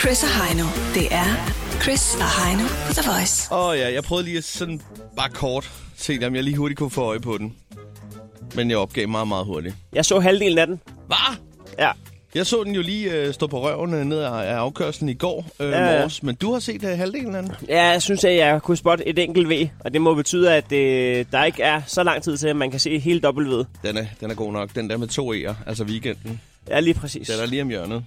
Chris og Heino. Det er Chris og Heino på The Voice. Åh oh, ja, jeg prøvede lige at sådan bare kort se, om jeg lige hurtigt kunne få øje på den. Men jeg opgav meget, meget hurtigt. Jeg så halvdelen af den. Hvad? Ja. Jeg så den jo lige øh, stå på røven øh, ned af af afkørslen i går øh, Ja, ja. morges, men du har set øh, halvdelen af den. ja. Jeg synes, at jeg kunne spotte et enkelt V, og det må betyde, at øh, der ikke er så lang tid til, at man kan se hele W. Den er, den er god nok. Den der med to E'er, altså weekenden. Ja, lige præcis. Den er lige om hjørnet.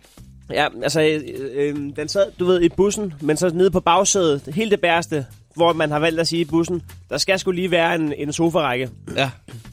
Ja, altså, øh, øh, den sad, du ved, i bussen, men så nede på bagsædet, helt det bæreste, hvor man har valgt at sige i bussen, der skal skulle lige være en, en sofarække. Ja,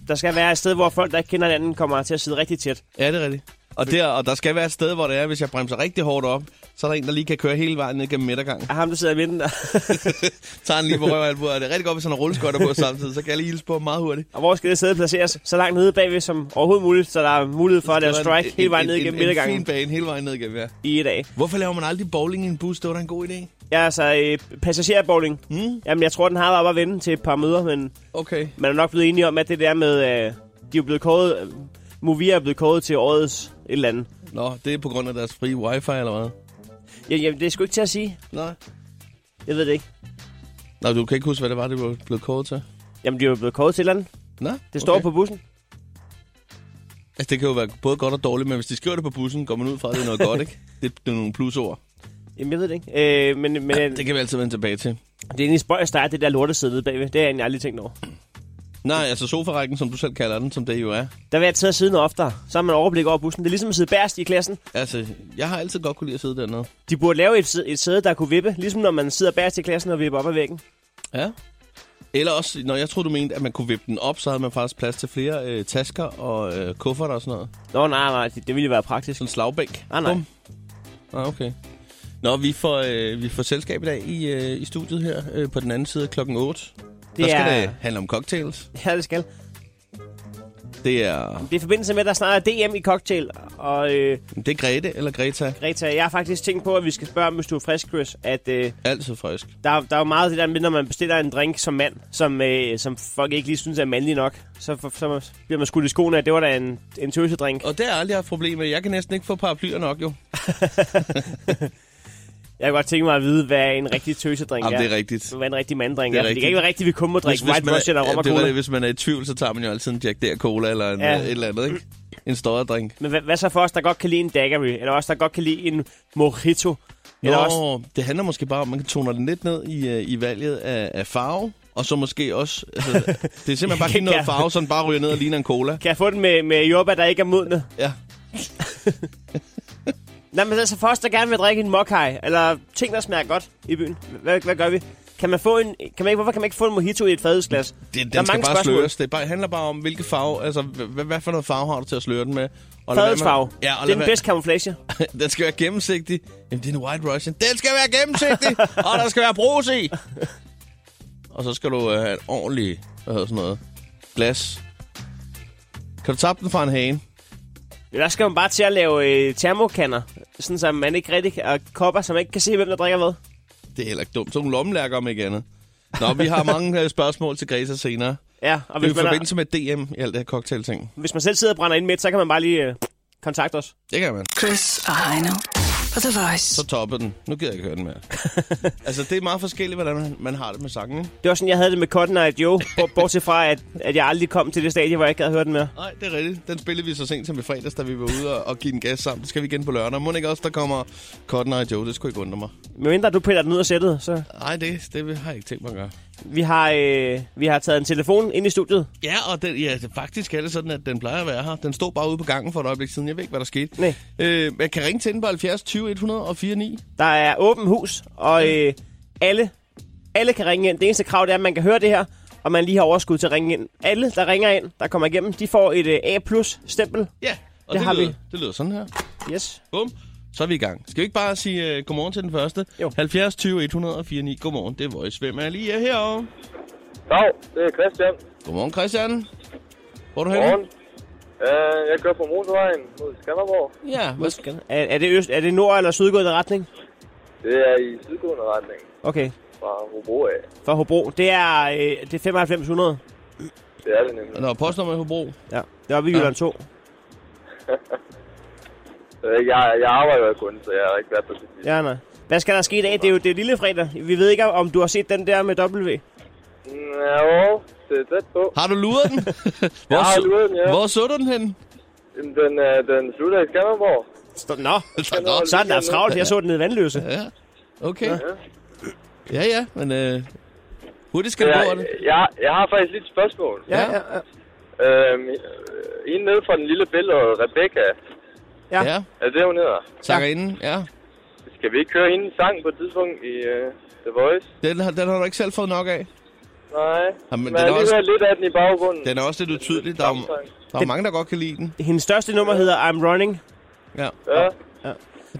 Der skal være et sted, hvor folk, der ikke kender hinanden, kommer til at sidde rigtig tæt. ja det er rigtigt. Og der, og der skal være et sted, hvor det er, hvis jeg bremser rigtig hårdt op, så er der en, der lige kan køre hele vejen ned gennem midtergangen. Og ham, der sidder i midten, Tager han lige på røvalbuer, og det er rigtig godt, hvis han har rulleskøjter på samtidig, så kan jeg lige hilse på ham meget hurtigt. og hvor skal det sæde placeres? Så langt nede bagved som overhovedet muligt, så der er mulighed for, at der er Det var en- strike hele vejen en- ned en- igennem En fin midtergangen bane hele vejen ned igennem, ja. i et dag. Hvorfor laver man aldrig bowling i en bus? Det var da en god idé. Ja, altså, øh, passagerbowling. Mm. Jamen, jeg tror, den har været op at vende til et par møder, men Okay. man er nok blevet enige om, at det der med, øh, de er blevet kåret, øh, Movia er blevet kåret til årets et eller andet. Nå, det er på grund af deres frie wifi, eller hvad? Ja, jamen, det er sgu ikke til at sige. Nej. Jeg ved det ikke. Nå, du kan ikke huske, hvad det var, det blev blevet kåret til? Jamen, de er jo blevet kåret til et eller andet. Nå, Det står på bussen. Altså, det kan jo være både godt og dårligt, men hvis de skriver det på bussen, går man ud fra, at det er noget godt, ikke? Det, det er nogle plusord. Jamen, jeg ved det ikke. Øh, men men Ja, ja, det kan vi altid vende tilbage til. det er egentlig spøjs, der er det der lortesæde nede bagved. Det har jeg egentlig aldrig tænkt over. Nej, altså sofarækken, som du selv kalder den, som det jo er. Der vil jeg tage siden oftere, så har man overblik over bussen. Det er ligesom at sidde bærst i klassen. Altså, jeg har altid godt kunne lide at sidde dernede. De burde lave et, sæde- et sæde, der kunne vippe, ligesom når man sidder bærst i klassen og vipper op ad væggen. Ja. Eller også, når jeg troede, du mente, at man kunne vippe den op, så havde man faktisk plads til flere øh, tasker og øh, kufferter og sådan noget. Nå, nej, nej, det, det ville jo være praktisk. Sådan en slagbænk. Ah, nej. Bum. Ah, okay. Nå, vi får, øh, vi får selskab i dag i, øh, i studiet her øh, på den anden side af klokken 8. Det der skal er- det handle om cocktails. Ja, det skal. Det er, Det er i forbindelse med, at der snart er DM i cocktail. Og øh, det er Grete eller Greta. Greta, jeg har faktisk tænkt på, at vi skal spørge, om, hvis du er frisk, Chris, at øh, Altid frisk. der, der er jo meget af det der med, når man bestiller en drink som mand, som, øh, som folk ikke lige synes er mandlig nok, så, for, så bliver man skudt i skoene, at det var da en, en tøsedrink. Og det har jeg aldrig haft problemer. Jeg kan næsten ikke få paraplyer nok, jo. Jeg kunne godt tænke mig at vide, hvad en rigtig tøsedrink Jamen, er. det er rigtigt. Hvad en rigtig manddrink Det er. er for Det rigtigt. kan ikke være rigtigt, vi kun må drikke White man Russian og rom er, og det var cola. det, hvis man er i tvivl, så tager man jo altid en Jack Dare Cola eller en, Ja. ja. et eller andet, ikke? En stoderdrink. Men hvad, hvad så for os, der godt kan lide en daiquiri? Eller os, der godt kan lide en mojito? Eller Nå, også, det handler måske bare om, at man toner den lidt ned i, øh, i valget af, af farve, og så måske også... Altså, det er simpelthen bare at give noget Ja. farve, så den bare ryger ned og ligner en cola. kan jeg få den med, med jordbær, der ikke er modne? Ja. Nej, men altså for os, der gerne vil drikke en mokai, eller ting, der smager godt i byen. Hvad, hvad gør vi? Kan man få en, kan man ikke, hvorfor kan man ikke få en mojito i et fadelsglas? Det, den Der er skal mange bare spørgsmål. sløres. Det er bare, handler bare om, hvilke farve... Altså, hvad, hvad for noget farve har du til at sløre den med? Og lad være med- Fadelsfarve. Ja, det er og lad den være- bedste camouflage. Den skal være gennemsigtig. Jamen, det er en white russian. Den skal være gennemsigtig, og der skal være brus i. Og så skal du øh, have et ordentligt, hvad hedder sådan noget, glas. Kan du tabe den fra en hane? Eller skal man bare til at lave øh, termokanner, sådan så man ikke rigtig kan, og kopper, så man ikke kan se, hvem der drikker hvad. Det er heller ikke dumt. Så nogle lommelærker om ikke andet. Nå, vi har mange øh, spørgsmål til Greta senere. Ja, og Det er i hvis man, har, forbindelse med DM i alt det her cocktail-ting. hvis man selv sidder og brænder ind med, så kan man bare lige øh, kontakte os. Det kan man. Chris og Heino på The Voice. Så topper den. Nu gider jeg ikke høre den mere. altså, det er meget forskelligt, hvordan man- man har det med sangen. Det var sådan, jeg havde det med Cotton Eye Joe, bort- bortset fra, at, at jeg aldrig kom til det stadie, hvor jeg ikke havde hørt den mere. Nej, det er rigtigt. Den spillede vi så sent som i fredags, da vi var ude og, og give den gas sammen. Det skal vi igen på lørdag. Må ikke også, der kommer Cotton Eye Joe? Det skulle ikke undre mig. Men mindre du piller den ud af sættet, så... Nej, det, det har jeg ikke tænkt mig at gøre. Vi har, øh, vi har taget en telefon ind i studiet. Ja, og den, ja, det- faktisk er det sådan, at den plejer at være her. Den stod bare ude på gangen for et øjeblik siden. Jeg ved ikke, hvad der skete. Nej. Øh, man kan ringe til den på 70 20 104 9. Der er åben hus, og øh, alle, alle kan ringe ind. Det eneste krav det er, at man kan høre det her, og man lige har overskud til at ringe ind. Alle, der ringer ind, der kommer igennem, de får et øh, A-plus-stempel. Ja, og Det har vi. lyder, Det lyder sådan her. Yes. Bum. Så er vi i gang. Skal vi ikke bare sige uh, godmorgen til den første? Jo. 70 20 104 9. Godmorgen, det er Voice. Hvem er lige herovre? Dag, det er Christian. Godmorgen, Christian. Hvor er du henne? Morgen. Øh, jeg kører på motorvejen mod Skanderborg. Ja, hvad skal Er, er, det øst, er det nord- eller sydgående retning? Det er i sydgående retning Okay, fra Hobro af. for Hobro. Det er, øh, det er 9500. Det er det nemlig. Nå, postnummer i Hobro. Ja, det er oppe i Jylland 2. Øh, jeg, jeg arbejder jo kun, så jeg har ikke været på sit Ja, nej. Hvad skal der ske i dag? Det er jo det er lille fredag. Vi ved ikke, om du har set den der med W. Ja, jo, det er tæt på. Har du luret den? hvor, Jeg har så- luret den, ja. hvor så du den henne? Jamen, Den, øh, den slutter i Skanderborg. Stå- Nå, Altså, Nå, så er den da travlt. Jeg så den nede i vandløse. ja. Okay. Ja, ja, men øh, hurtigt skal du Jeg, over det. jeg, jeg har faktisk lidt spørgsmål. Ja, ja, ja. Øhm, øh, en nede fra den lille billede, Rebecca, ja. Ja, er det, hun hedder? sakker inden, ja. Skal vi ikke køre hendes sang på et tidspunkt i øh, The Voice? Den har, den har du ikke selv fået nok af. Nej, Jamen, men den jeg er har også- lige hørt lidt af den i baggrunden. Den er også lidt utydelig. Der er, jo- der er mange, der godt kan lide den. Hendes største nummer hedder I'm Running. Ja, Ja,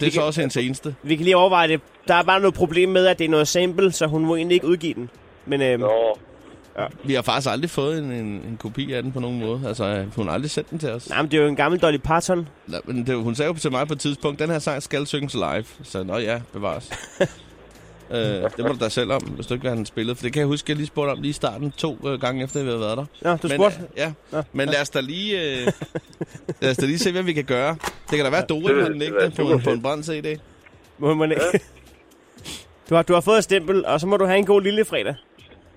det er så også hendes eneste. Vi kan lige overveje det. Der er bare noget problem med, at det er noget sample, så hun må egentlig ikke udgive den. Men øhm, nå. Vi har faktisk aldrig fået en, en, en kopi af den på nogen måde. Altså, øh, hun har aldrig sendt den til os. nej, men det er jo en gammel Dolly Parton. Nej, men det, hun sagde jo til mig på et tidspunkt, den her sang skal synges live. Så nå ja, bevares. øh, det må du da selv om, hvis du ikke vil have den spillet. For det kan jeg huske, jeg lige spurgte om lige i starten to øh, gange efter, vi havde været der. Nå, du men, spurgte. øh, ja. men lad os da lige, øh, lad os da lige se, hvad vi kan gøre. Det kan da være, at Dore det har vil- den det ikke vil den være på, super en- på en brand CD. øh, Må man ikke? Du har, du har fået et stempel, og så må du have en god lille fredag.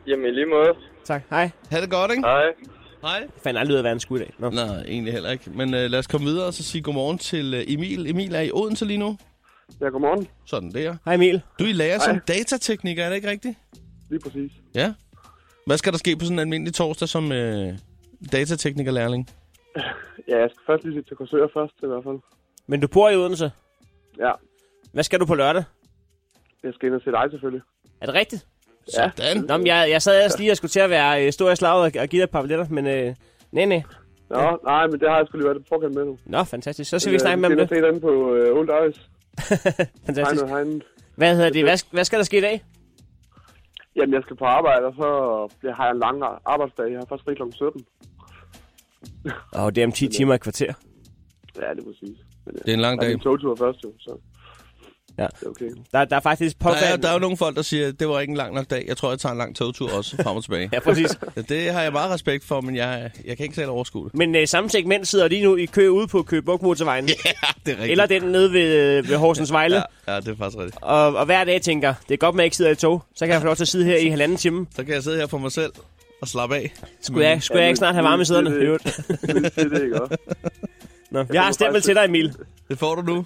Jamen, i lige måde. Tak. Hej. Ha' det godt, ikke? Hej. Hej. Jeg fandt aldrig ud af, hvad en skulle i dag. Nå. Nej, egentlig heller ikke. Men øh, lad os komme videre og så sige godmorgen til øh, Emil. Emil er i Odense lige nu. Ja, godmorgen. Sådan der. Hej Emil. Du er i lærer som datatekniker, er det ikke rigtigt? Lige præcis. Ja. Hvad skal der ske på sådan en almindelig torsdag som øh, datateknikerlærling? Ja, jeg skal først lige til Korsør først, i hvert fald. Men du bor i Odense. Ja, Hvad skal du på lørdag? jeg skal ind og se dig selvfølgelig. Er det rigtigt? Ja. Sådan. Nå, men jeg, jeg sad ellers lige og skulle til at være øh, stor i slaget og, og give dig et par billetter, men øh, nej, nej. Nå, nej, men det har jeg skulle lige været på forkant med nu. Nå, fantastisk. Så skal vi snakke med om det. Jeg det. skal ind og se den på uh, Old Eyes. Hej Fantastisk. nu, hej nu. Hvad hedder det? Hvad, hvad skal der ske i dag? Jamen, jeg skal på arbejde, og så jeg har jeg en lang arbejdsdag. Jeg har først fri kl. 17. Åh, oh, det er om 10 timer i kvarter. Ja, det er præcis. Men, uh, Det er en lang Jeg har dag. en togtur først, jo, så... Ja. Det er okay. Der, der er faktisk Der er, påfaldende... der er jo nogle folk, der siger, at det var ikke en lang nok dag. Jeg tror, jeg tager en lang togtur også frem og tilbage. Ja, præcis. Det har jeg meget respekt for, men jeg, jeg kan ikke selv overskue det. Men øh, samme segment sidder lige nu i kø ude på Køge Bugt Motorvejen. Yeah. Ja, det er rigtigt. Eller den nede ved, øh, ved Horsens Vejle. Ja. ja, ja, det er faktisk rigtigt. Og, og hver dag tænker, det er godt, at jeg ikke sidder i et tog. Så kan jeg få lov til at sidde her i halvanden time. Så kan jeg sidde her for mig selv og slappe af. Skulle jeg, skulle jeg ikke snart have varme i siderne? Det- det- I øvrigt. Det er det, ikke også? Nå, jeg har må stempel faktisk- til dig, Emil. Det får du nu.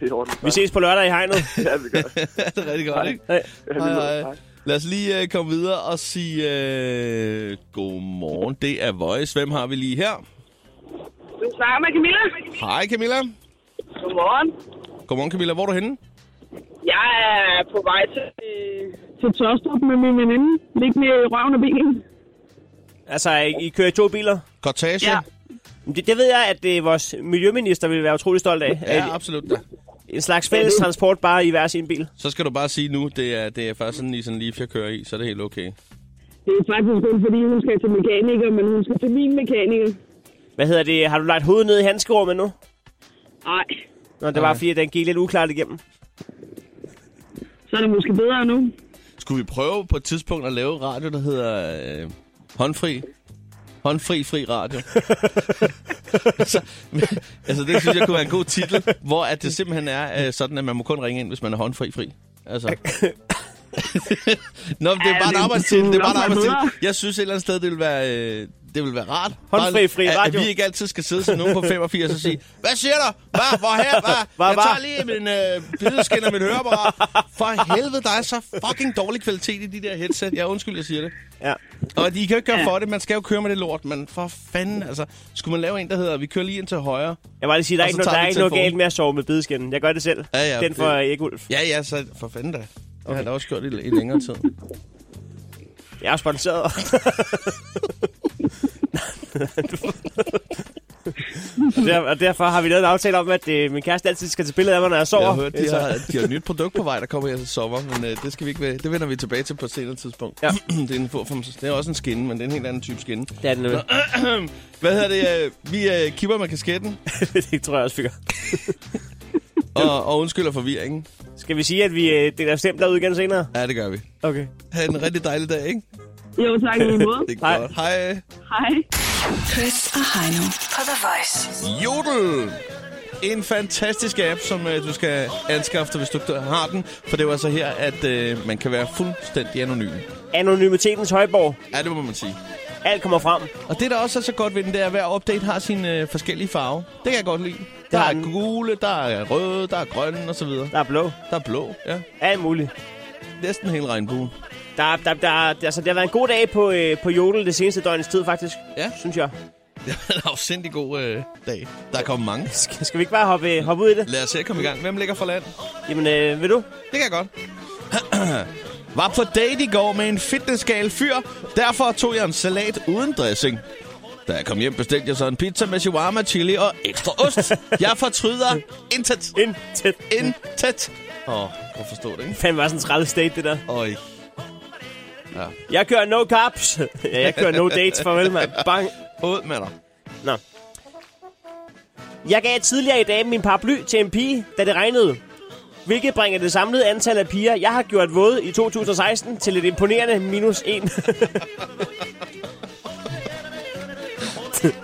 Det er ordentligt. Vi ses på lørdag i hegnet. Øh, Ja, vi gør. det er rigtig godt, ikke? Hej. Ja, lige måde. Hej, hej. Lad os lige øh, komme videre og sige øh, godmorgen. Det er Voice. Hvem har vi lige her? Du snakker med Camilla. Hej Camilla. Godmorgen. Godmorgen Camilla. Hvor er du henne? Jeg er på vej til, øh, til Tørstrup med min veninde. Liggende i røven af bilen. Altså, I I kører i to biler. Cortage? Ja. Men Det, det ved jeg, at øh, vores miljøminister vil være utrolig stolt af. Ja, At absolut. Da. En slags fælles transport bare i hver sin bil. Så skal du bare sige nu, det er, det er faktisk sådan lige sådan lige, jeg kører i, så er det helt okay. Det er faktisk kun fordi, hun skal til mekaniker, men hun skal til min mekaniker. Hvad hedder det? Har du lagt hovedet ned i handskerummet nu? Nej, Nå, det var fordi, at den gik lidt uklart igennem. så er det måske bedre nu. Skulle vi prøve på et tidspunkt at lave radio, der hedder øh, håndfri? Håndfri fri radio. så, altså det synes jeg kunne være en god titel, hvor at det simpelthen er øh, sådan, at man må kun ringe ind, hvis man er håndfri fri. Altså. Nå, men det er Ja, bare en det arbejdstitel. Det er kunne bare en nok være arbejdstitel. bedre. Jeg synes et eller andet sted, det vil være, øh, det vil være rart. Håndfri Bare, fri at- radio. At vi ikke altid skal sidde som nogen på 85 og sige, hvad siger du? Hvad? Hvor her? Hvad? Hvad, Jeg hvad? tager lige min øh, bideskin og mit høreapparat. For helvede, der er så fucking dårlig kvalitet i de der headset. Jeg undskyld, jeg siger det. Ja. Og de kan jo ikke gøre for det. Man skal jo køre med det lort. Men for fanden, altså. Skulle man lave en, der hedder, vi kører lige ind til højre. Jeg vil lige sige, der er Og ikke, noget, der så tager er vi ikke noget telefonen. galt med at sove med bideskinnen. Jeg gør det selv. Ja, ja, den det- for Erik Ulf. Ja, ja, så for fanden da. Det okay. har jeg da også gjort i, i længere tid. Jeg er sponsoreret. og, der, og derfor har vi lavet en aftale om, at øh, min kæreste altid skal til billeder af mig, når jeg sover. Jeg har hørt, de Så- har, de har et nyt produkt på vej, der kommer her til sommer, men øh, det, skal vi ikke, være- det vender vi tilbage til på et senere tidspunkt. Ja. det, er en form, det er også en skinne, men det er en helt anden type skinne. Det er den nemlig. Hvad hedder det? øh, Vi øh, kipper med kasketten det tror jeg også, vi gør. og, og undskylder forvirringen. Skal vi sige, at vi øh, deler stempler ud igen senere? Ja, det gør vi. Okay. Ha' en rigtig dejlig dag, ikke? Jo, tak i lige måde. Det er Hej. godt. Hej. Hej. Chris og Heino på The Voice. Jodel! En fantastisk app, som øh, du skal anskaffe dig, hvis du har den. For det var så her, at øh, man kan være fuldstændig anonym. Anonymitetens højborg. Ja, det må man sige. Alt kommer frem. Og det, der også er så godt ved den, det er, at hver update har sine øh, forskellige farver. Det kan jeg godt lide. Der har er den. gule, der er røde, der er grønne osv. Der er blå. Der er blå, ja. Alt muligt. Næsten hele regnbuen. Der, der, der, altså, det har været en god dag på, øh, på Jodel det seneste døgnets tid, faktisk. Ja. Synes jeg. Det var en afsindig god øh, dag. Der er kommet mange. Skal, skal vi ikke bare hoppe, hoppe ud i det? Lad os se at komme i gang. Hvem ligger for land? Jamen, øh, vil du? Det kan jeg godt. Var på date i går med en fitnessgal fyr. Derfor tog jeg en salat uden dressing. Da jeg kom hjem, bestilte jeg så en pizza med shawarma, chili og ekstra ost. Jeg fortryder intet. Ind tæt. Intet. Åh, oh, jeg forstå det, ikke? Fanden var sådan en træls state, det der. Øj. Jeg kører no caps. ja, jeg kører no dates. Farvel, mand. Bang. Ud med dig. Nå. Jeg gav tidligere i dag min paraply til en pige, da det regnede. Hvilket bringer det samlede antal af piger, jeg har gjort våde i 2016, til et imponerende minus 1.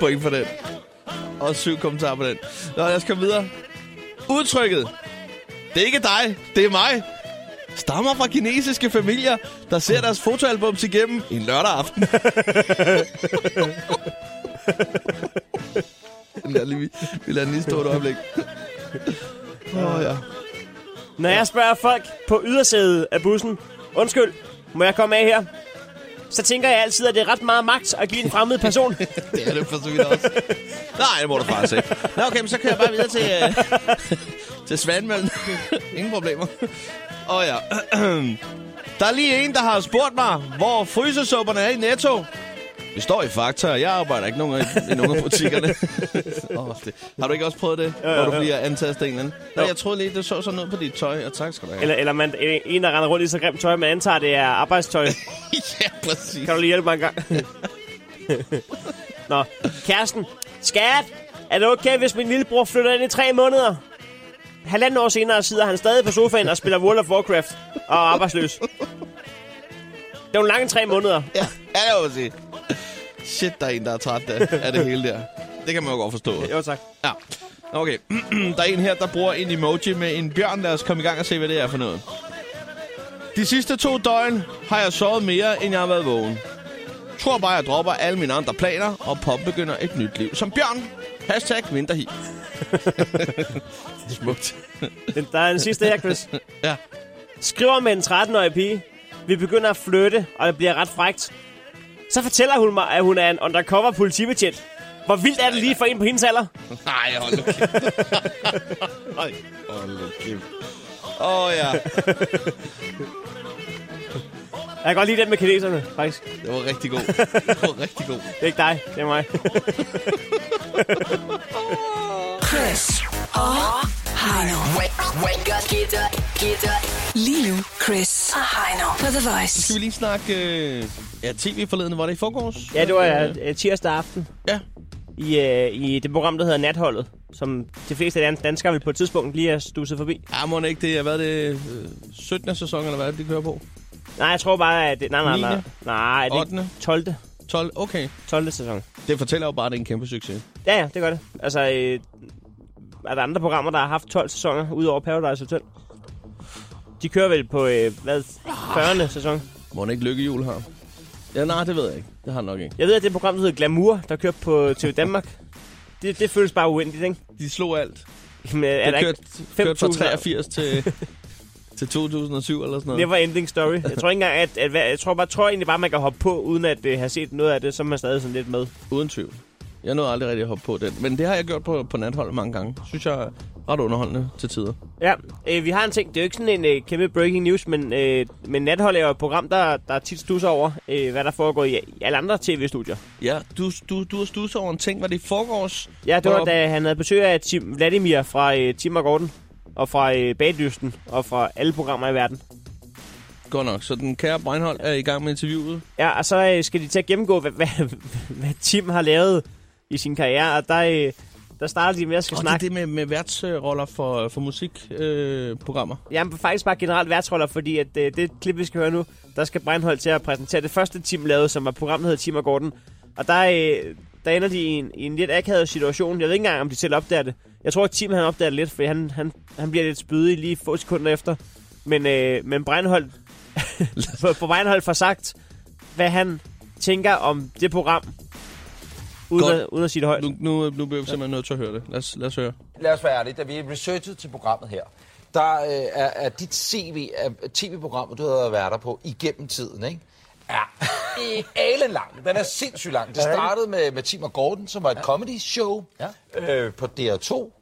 Point for den. Og syv kommentarer på den. Nå, lad os komme videre. Udtrykket. Det er ikke dig, det er mig. Stammer fra kinesiske familier, der ser deres fotoalbums igennem en lørdag aften. vi, lader lige, vi lader den lige stå et øjeblik. Åh oh, ja. Når jeg spørger folk på ydersædet af bussen, undskyld, må jeg komme af her? Så tænker jeg altid, at det er ret meget magt at give en fremmed person. Det er det for så vidt også. Nej, det må du faktisk ikke. Nå, okay, men så kører jeg bare videre til, øh, til Svanmøllen. Ingen problemer. Og ja. Der er lige en, der har spurgt mig, hvor frysesupperne er i Netto. Det står i Fakta, og jeg arbejder ikke nogen i, i nogen af butikkerne. oh, det. Har du ikke også prøvet det, ja, ja, ja. hvor du bliver antastet af en eller anden? Nå, Jo. jeg troede lige, det så sådan ud på dit tøj, og tak skal du have. eller, eller man, en, der render rundt i så grimt tøj, man antager, det er arbejdstøj. ja, præcis. Kan du lige hjælpe mig en gang? Nå, kæresten. Skat, er det okay, hvis min lillebror flytter ind i tre måneder? Halvanden år senere sidder han stadig på sofaen og spiller World of Warcraft og er arbejdsløs. Det er jo lange tre måneder. Ja, ja, det må man sige. Shit, der er en, der er træt af, af det hele der. Det kan man jo godt forstå. Jo tak. Ja. Okay, der er en her, der bruger en emoji med en bjørn. Lad os komme i gang og se, hvad det er for noget. De sidste to døgn har jeg sovet mere, end jeg har været vågen. Tror bare, jeg dropper alle mine andre planer og påbegynder et nyt liv som bjørn. Hashtag vinterhi. det er smukt. Den- Der er en sidste her, Chris. Ja. Skriver med en 13-årig pige. Vi begynder at flytte, og det bliver ret frægt. Så fortæller hun mig, at hun er en undercover politibetjent. Hvor vildt er det lige for en på hendes alder? Nej, hold nu kæft. Ej, hold nu kæft. Åh oh, ja, Jeg kan godt lide den med kineserne, faktisk. det var rigtig god. Det var rigtig god. Det er ikke dig, det er mig. Chris og Heino. Lige nu, Chris og Heino på The Voice. Skal vi lige snakke øh, ja, tv forleden? Var det i forgårs? Ja, det var øh, tirsdag aften Ja. i, øh, i det program, der hedder Natholdet, som de fleste dan- danskere vil på et tidspunkt lige er stusset forbi. Ja, må ikke det. Hvad er det? øh, 17. sæson, eller hvad er det, de kører på? Nej, jeg tror bare, at det... Nej, nej, nej. Niende? Nej, er det ikke 8. 12. 12. Okay. 12. sæson. Det fortæller jo bare, at det er en kæmpe succes. Ja, ja, det gør det. Altså, øh, er der andre programmer, der har haft 12 sæsoner, udover Paradise Hotel? De kører vel på, øh, hvad, 40. sæson? Må ikke lykkehjul har? Ja, nej, det ved jeg ikke. Det har han nok ikke. Jeg ved, at det program, der hedder Glamour, der kører på TV Danmark. Det, det føles bare uendeligt, ikke? De slog alt. Men, er Det der kørte, kørte fra 5.000? 83 til, til 2007 eller sådan noget. Never ending story. Jeg tror ikke engang, at, at, at jeg tror bare, tror egentlig bare, man kan hoppe på, uden at uh, have set noget af det, så er man stadig sådan lidt med. Uden tvivl. Jeg nåede aldrig rigtig at hoppe på den. Men det har jeg gjort på, på natholdet mange gange. Synes jeg er ret underholdende til tider. Ja, øh, vi har en ting. Det er jo ikke sådan en øh, kæmpe breaking news, men, øh, men Nathold er jo et program, der, der tit stusser over, øh, hvad der foregår i, i alle andre tv-studier. Ja, du, du, du har studset over en ting. Var det i forgårs? Ja, det var, Hvor- da han havde besøg af Tim Vladimir fra øh, Tim og Gordon, og fra øh, Bagdysten, og fra alle programmer i verden. Godt nok. Så den kære Breinholt er i gang med interviewet. Ja, og så øh, skal de til at gennemgå, hvad, hvad, hvad Tim har lavet i sin karriere, og der, øh, der starter de med at skal Og det er snakke det med, med værtsroller for, for musikprogrammer. Øh, programmer. Jamen faktisk bare generelt værtsroller, fordi at øh, det klip, vi skal høre nu, der skal Breinholt til at præsentere det første team lavet, som var programmet der hedder Team og Gordon. Og der, øh, der ender de i en, i en lidt akavet situation. Jeg ved ikke engang, om de selv opdager det. Jeg tror, at Tim han opdager det lidt, for han, han, han bliver lidt spydig lige få sekunder efter. Men, øh, men Breinholt, for, for Breinholt får sagt, hvad han tænker om det program, uden, Godt. at, uden at sige det højt. Øh, Nu, nu, nu bliver vi simpelthen nødt til at høre det. Lad os, lad os høre. lad os være ærlige, da vi researchede til programmet her, der øh, er, er dit CV af tv-programmet, du havde været værter på igennem tiden, ikke? Ja, alen lang. Den er sindssygt lang. Det startede med, med Tim og Gordon, som var et comedy show ja. øh, på DR2.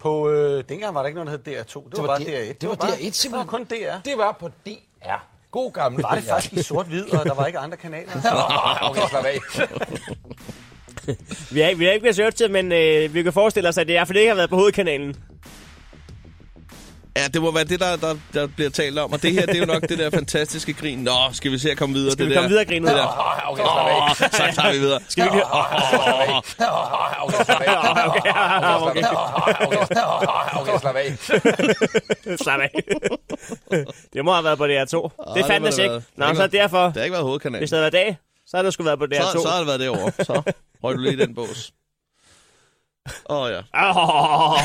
På, øh, dengang var der ikke noget, der hed DR2. Det, var, bare DR1. Det, var bare- DR1 Det var simpelthen. kun DR. Det var på DR. God gammel Var det DR. faktisk i sort-hvid, og der var ikke andre kanaler? Nå, okay, slap af. Vi har, ikke- vi har ikke researchet, men øh, vi kan forestille os, at det i hvert fald ikke har været på hovedkanalen. Ja, det må være det, der, der, der bliver talt om. Og det her, det er jo nok det der fantastiske grin. Nå, skal vi se at komme videre? Skal det vi der. komme videre, Grine? Det der. Åh, okay, slap af. Åh, så tager vi videre. Skal vi lige... Åh, okay, slap af. Åh, okay, Åh, okay. okay, slap af. Åh, okay, slap af. Åh, okay, slap af. Slap af. det må have været på DR2. Det det må fandtes det ikke. have Nå, været. så derfor, Det har ikke været hovedkanalen. hvis Så, det havde været dag, så havde det sgu været på DR2. så har det været derovre. Så røg du lige i den bås. Åh oh, ja. Åh,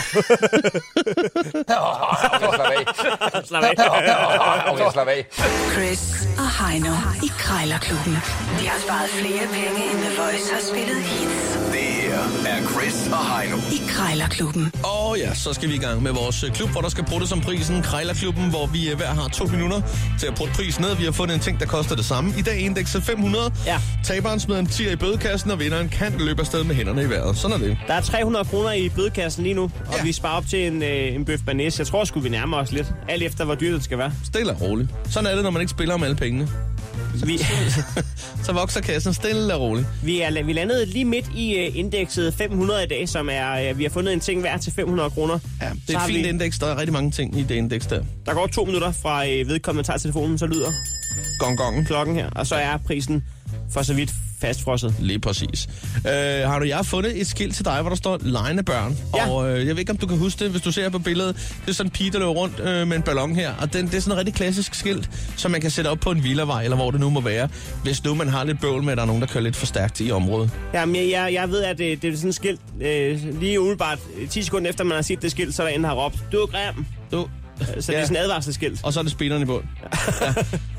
Åh, okay, slap af. slap af. Åh, okay, slap af. Chris og Heino i Krejlerklubben. De har sparet flere penge, end The Voice har spillet hits Det her er Chris og Heino. i Krejlerklubben. Og ja, så skal vi i gang med vores øh, klub, hvor der skal bruges som prisen. Krejlerklubben, hvor vi øh, hver har to minutter til at putte prisen ned. Vi har fundet en ting, der koster det samme. I dag indekset 500. Ja. Taberen smider en 10 i bødekassen, og vinderen kan løbe afsted med hænderne i vejret. Sådan er det. Der er 300 kroner i bødekassen lige nu, og Ja. vi sparer op til en, øh, en bøf banæs. Jeg tror sgu, vi nærmer os lidt. Alt efter, hvor dyrt det skal være. Stille og roligt. Sådan er det, når man ikke spiller om alle pengene. Vi, Så vokser kassen stille og roligt. vi, er, vi landede lige midt i øh, indekset 500 i dag, som er, øh, vi har fundet en ting hver til 500 kroner. Ja, det Så er har et fint vi- vi... indeks. Der er rigtig mange ting i det indeks der. Der går to minutter fra øh, vedkommende tager telefonen, så lyder Gong gongen. klokken her, og så er prisen for så vidt fastfrosset. Lige præcis. Øh, har du jeg har fundet et skilt til dig, hvor der står lejende børn. Ja. Og øh, jeg ved ikke, om du kan huske det, hvis du ser her på billedet. Det er sådan en pige, der løber rundt øh, med en ballon her. Og den, det er sådan et rigtig klassisk skilt, som man kan sætte op på en villavej, eller hvor det nu må være. Hvis nu man har lidt bøvl med, at der er nogen, der kører lidt for stærkt i området. Jamen, jeg, jeg, jeg ved, at det, det er sådan et skilt. Øh, lige umiddelbart øh, 10 sekunder efter, man har set det skilt, så er der en, der har råbt, du er grim. Du, Øh, Så ja. det er sådan et advarselsskilt. Og så er det spilleren i bund. Ja.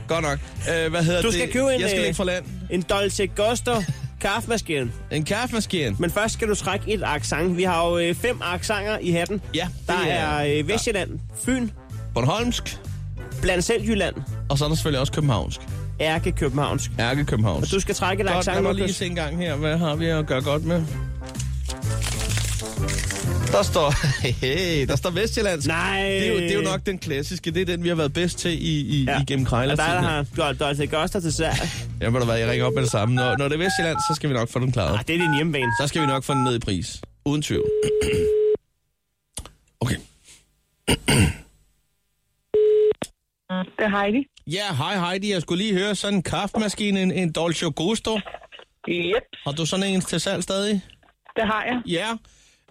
Godt nok. Øh, hvad hedder Du skal det? købe en, Jeg skal øh, ikke fra land. En Dolce Gusto kaffemaskine. En kaffemaskine. Men først skal du trække et accent. Vi har jo øh, fem accenter i hatten. Ja, det Der er er- øh, Vestjylland, Fyn, Bornholmsk. blandt selv Jylland, Og så er der selvfølgelig også københavnsk. Ærke, Københavnsk. Ærke Københavns. Du skal trække et Godt, lad accent, mig lige Lukas. se en gang her. Hvad har vi at gøre godt med? Der står, hey, der står Vestjyllands. Nej. Det er, jo, det er jo nok den klassiske. Det er den, vi har været bedst til i, i, ja. igennem krejler. Og der er der har Dol- Dolce Gusto til Sverige. Jeg må da være, jeg ringer op med det samme. Når, når det er Vestjylland, så skal vi nok få den klaret. Ah, det er din hjemmebane. Så skal vi nok få den ned i pris. Uden tvivl. Okay. Det er Heidi. Ja, hej Heidi. Jeg skulle lige høre sådan en kaffemaskine, en, en Dolce Gusto. Yep, Har du sådan en til salg stadig? det har jeg. Ja.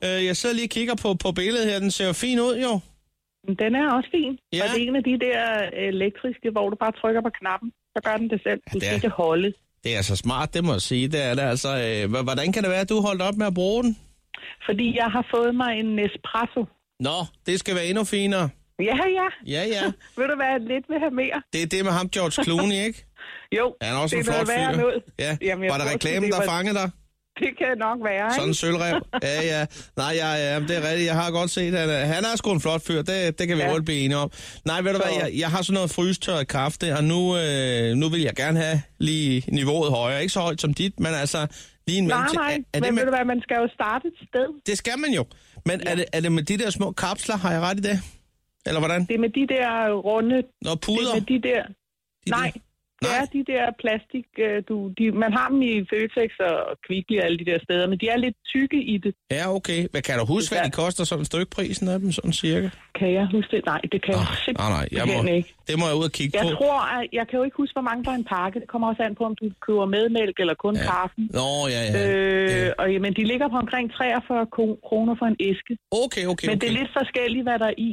Øh, jeg sidder lige og kigger på, på billedet her. Den ser jo fin ud, jo. Den er også fin. Ja. Ja. Og det er en af de der elektriske, hvor du bare trykker på knappen, så gør den det selv. Du det er- skal ikke holde. Det er altså smart, det må jeg sige. Det er det altså. Øh, h- hvordan kan det være, at du holdt op med at bruge den? Fordi jeg har fået mig en Nespresso. Nå, det skal være endnu finere. Ja, ja. Ja, ja. Vil du være lidt vil have mere? Det er det med ham, George Clooney, ikke? Jo, Er han også det en er flot noget værre fyr? noget. Ja. Jamen, jeg var der tror, reklamen, det der var- fangede dig? Det kan nok være, Sådan ikke? en sølvrev. Ja, ja. Nej, ja, ja, jamen, det er rigtigt. Jeg har godt set, at øh, han er sgu en flot fyr. Det, det kan vi ja. Ja. hurtigt blive enige om. Nej, ved du hvad, Så- jeg, jeg har sådan noget frystørret kaffe der, og nu, øh, nu vil jeg gerne have lige niveauet højere. Ikke så højt som dit, men altså lige en Nej, mellemting. nej. Er, er Men det, ved med, du hvad, man skal jo starte et sted. det skal man jo. Men ja. er, det, er det med de der små kapsler, har jeg ret i det? Eller hvordan? Det er med de der runde... Nå, Det puder. er med de der... de nej, der- det Nej. er de der plastik... øh, Du, de, man har dem i Føtex og Kvickly og alle de der steder, men de er lidt tykke i det. Ja, okay. Men kan du huske, hvad de koster sådan stykprisen af dem, sådan cirka? Kan jeg huske det? Nej, det kan Nej, jeg nej, nej. Jeg simpelthen må, ikke. det må jeg ud og kigge Jeg på. tror, at jeg kan jo ikke huske, hvor mange der er i en pakke. Det kommer også an på, om du køber medmælk eller kun ja. kaffen. Nå, ja, ja. Øh, og, men de ligger på omkring 43 ko- kroner for en æske. Okay, okay, Men det okay. er lidt forskelligt, hvad der er i.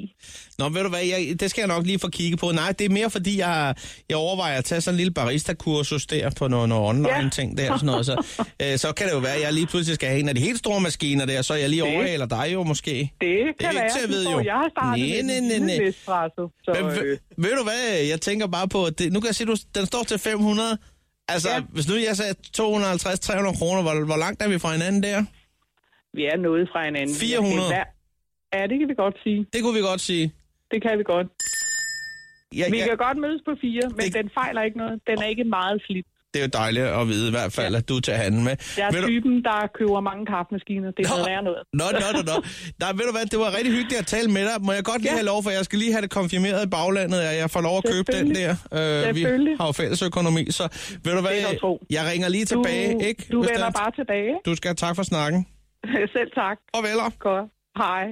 Nå, ved du hvad, jeg, det skal jeg nok lige få kigget på. Nej, det er mere fordi, jeg, jeg overvejer at tage sådan en lille barista-kursus der på nogle, nogle online-ting der og sådan noget. Så, øh, så kan det jo være, at jeg lige pludselig skal have en af de helt store maskiner der, så jeg lige overhaler dig jo måske. Det Det er kan ikke være. til at Du vide, tror, jo. Jeg har startet Næ, med næ, en næ, lille næ. Nespresso, så Men, øh, øh. ved du hvad, jeg tænker bare på, at det, nu kan jeg se, at den står til 500. Altså, ja. Ja. hvis nu jeg sagde 250-300 kroner, hvor, hvor langt er vi fra hinanden der? vi er noget fra hinanden. 400. Ja, Ja, det kan vi godt sige. Det kunne vi godt sige. Det kan vi godt. Ja, Vi ja, kan godt mødes på fire, men Det- den fejler ikke noget. Den er ikke meget slidt. det er jo dejligt at vide i hvert fald, at du tager handen med. Jeg Ved er du- typen, der køber mange kaffemaskiner. Det er Nå. noget værre noget. Nå, nå, nå, nå. Nej, ved du hvad, det var rigtig hyggeligt at tale med dig. Må jeg godt lige ja. Ja. have lov, for jeg skal lige have det konfirmeret i baglandet, at jeg får lov at købe den der. Selvfølgelig. Øh, vi Selvfølgelig. har jo fælles økonomi, så ved du kan jeg hvad, tro. jeg ringer lige Du, tilbage, ikke? du Hvis vender det er- bare tilbage. Du skal have tak for snakken. ikke? Selv tak. Og veler. Godt. Hej.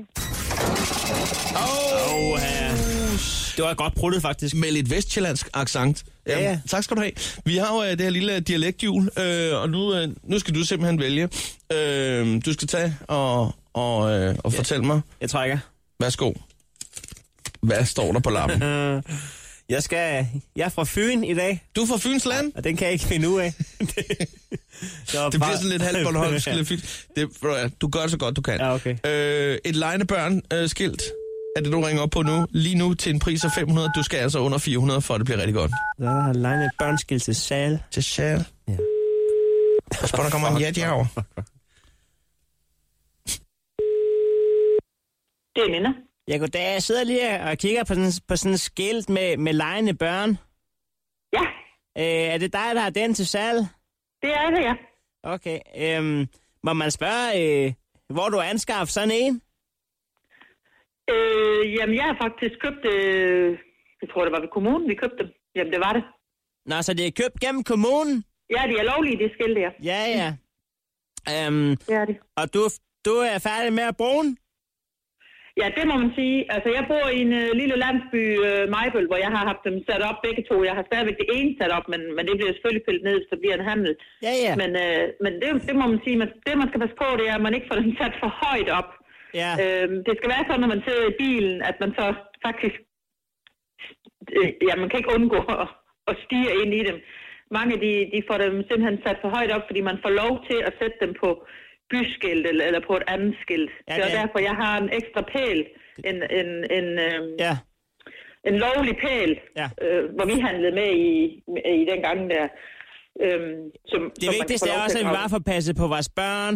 Åh, ja. Det var godt pruttet, faktisk. Med lidt vestjyllandsk accent. Ja, ja. Tak skal du have. Vi har jo øh, det her lille dialekthjul, øh, og nu, øh, nu skal du simpelthen vælge. Øh, du skal tage og, og, øh, og fortælle mig, Jeg trækker. værsgo, hvad står der på lappen? Øh, Jeg skal... Jeg er fra Fyn i dag, Du er fra Fyns Land? og den kan jeg ikke finde ud af. det, var Det bliver bare- sådan lidt halvbornholmsk, lidt fyns. Det, ved du hvad, du gør det så godt, du kan. Ja, okay. Øh, et legnebørn-skilt er det, du ringer op på nu. Lige nu til en pris af 500. Du skal altså under 400, for at det bliver rigtig godt. Der er legnet et børnskil til sal. Til sjæl. Ja. Og spørg, der kommer en jat herovre. Det er Nina. Ja, goddag. Jeg sidder lige og kigger på sådan, på sådan et skilt med, med legende børn. Ja, Øh, er det dig, der har den til salg? det er det, ja. Okay. Øhm, må man spørge, øh, hvor du har anskaffet sådan en? Øh, jamen, jeg har faktisk købt... Øh, jeg tror, det var ved kommunen, vi købte dem. Jamen, det var det. Nå, så det er købt gennem kommunen? Ja, de er lovlige, de skilte, ja. Ja, ja. Øhm, Det er de. og du, du er færdig med at bruge den? Ja, det må man sige. Altså, jeg bor i en øh, lille landsby, øh, Majbøl, hvor jeg har haft dem sat op begge to. Jeg har stadigvæk det ene sat op, men, men det bliver selvfølgelig pillet ned, hvis der bliver en handel. Ja, ja. Men, øh, men det, det må man sige, man, det man skal passe på, det er, at man ikke får den sat for højt op. ja. Øh, det skal være sådan, når man sidder i bilen, at man så faktisk... Øh, ja, man kan ikke undgå at, at stige ind i dem. Mange de, de får dem simpelthen sat for højt op, fordi man får lov til at sætte dem på byskilt eller, eller på et andet skilt. Ja, Ja, det er det er- derfor, jeg har en ekstra pæl, en, en, en, øh, ja. ja. en lovlig pæl, Ja. ja. øh, hvor vi handlede med i, i den gang der. Øhm, som, Det som man vigtigste får lov er til også, at vi komme. bare får passet på vores børn.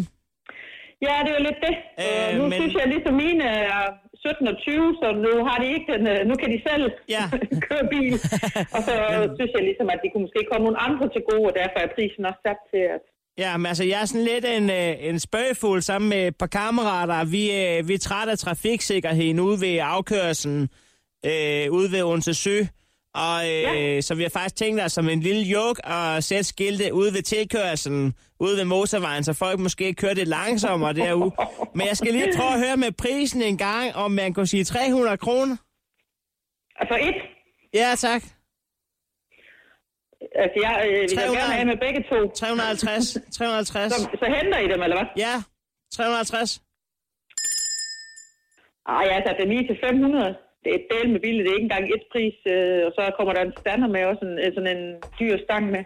Ja, det er jo lidt det. Øh, Øh, nu men- men... synes jeg ligesom mine er 17 og 20, så nu har de ikke den, øh, nu kan de selv Ja. køre bil. Og så synes jeg ligesom, at de kunne måske komme nogle andre til gode, og derfor er prisen også sat til, at Ja, men altså, jeg er sådan lidt en, øh, en spøgefugl sammen med et par kammerater. Vi, øh, vi er trætte af trafiksikkerheden ude ved afkørselen, øh, ude ved Odense Sø. Og øh, ja. så vi har faktisk tænkt os som en lille joke at sætte skilte ude ved tilkørselen, ude ved motorvejen, så folk måske kører lidt langsommere derude. Men jeg skal lige prøve at høre med prisen en gang, om man kunne sige 300 kroner. altså et, Ja, tak. altså jeg øh, vil jeg 300. gerne have med begge to, 350. 350. så, så henter I dem, eller hvad? Ja, 350. Ej, jeg satte dem lige til 500. Det er et del med billigt, det er ikke engang et pris, øh, og så kommer der en stander med, også en, øh, sådan en dyr stang med.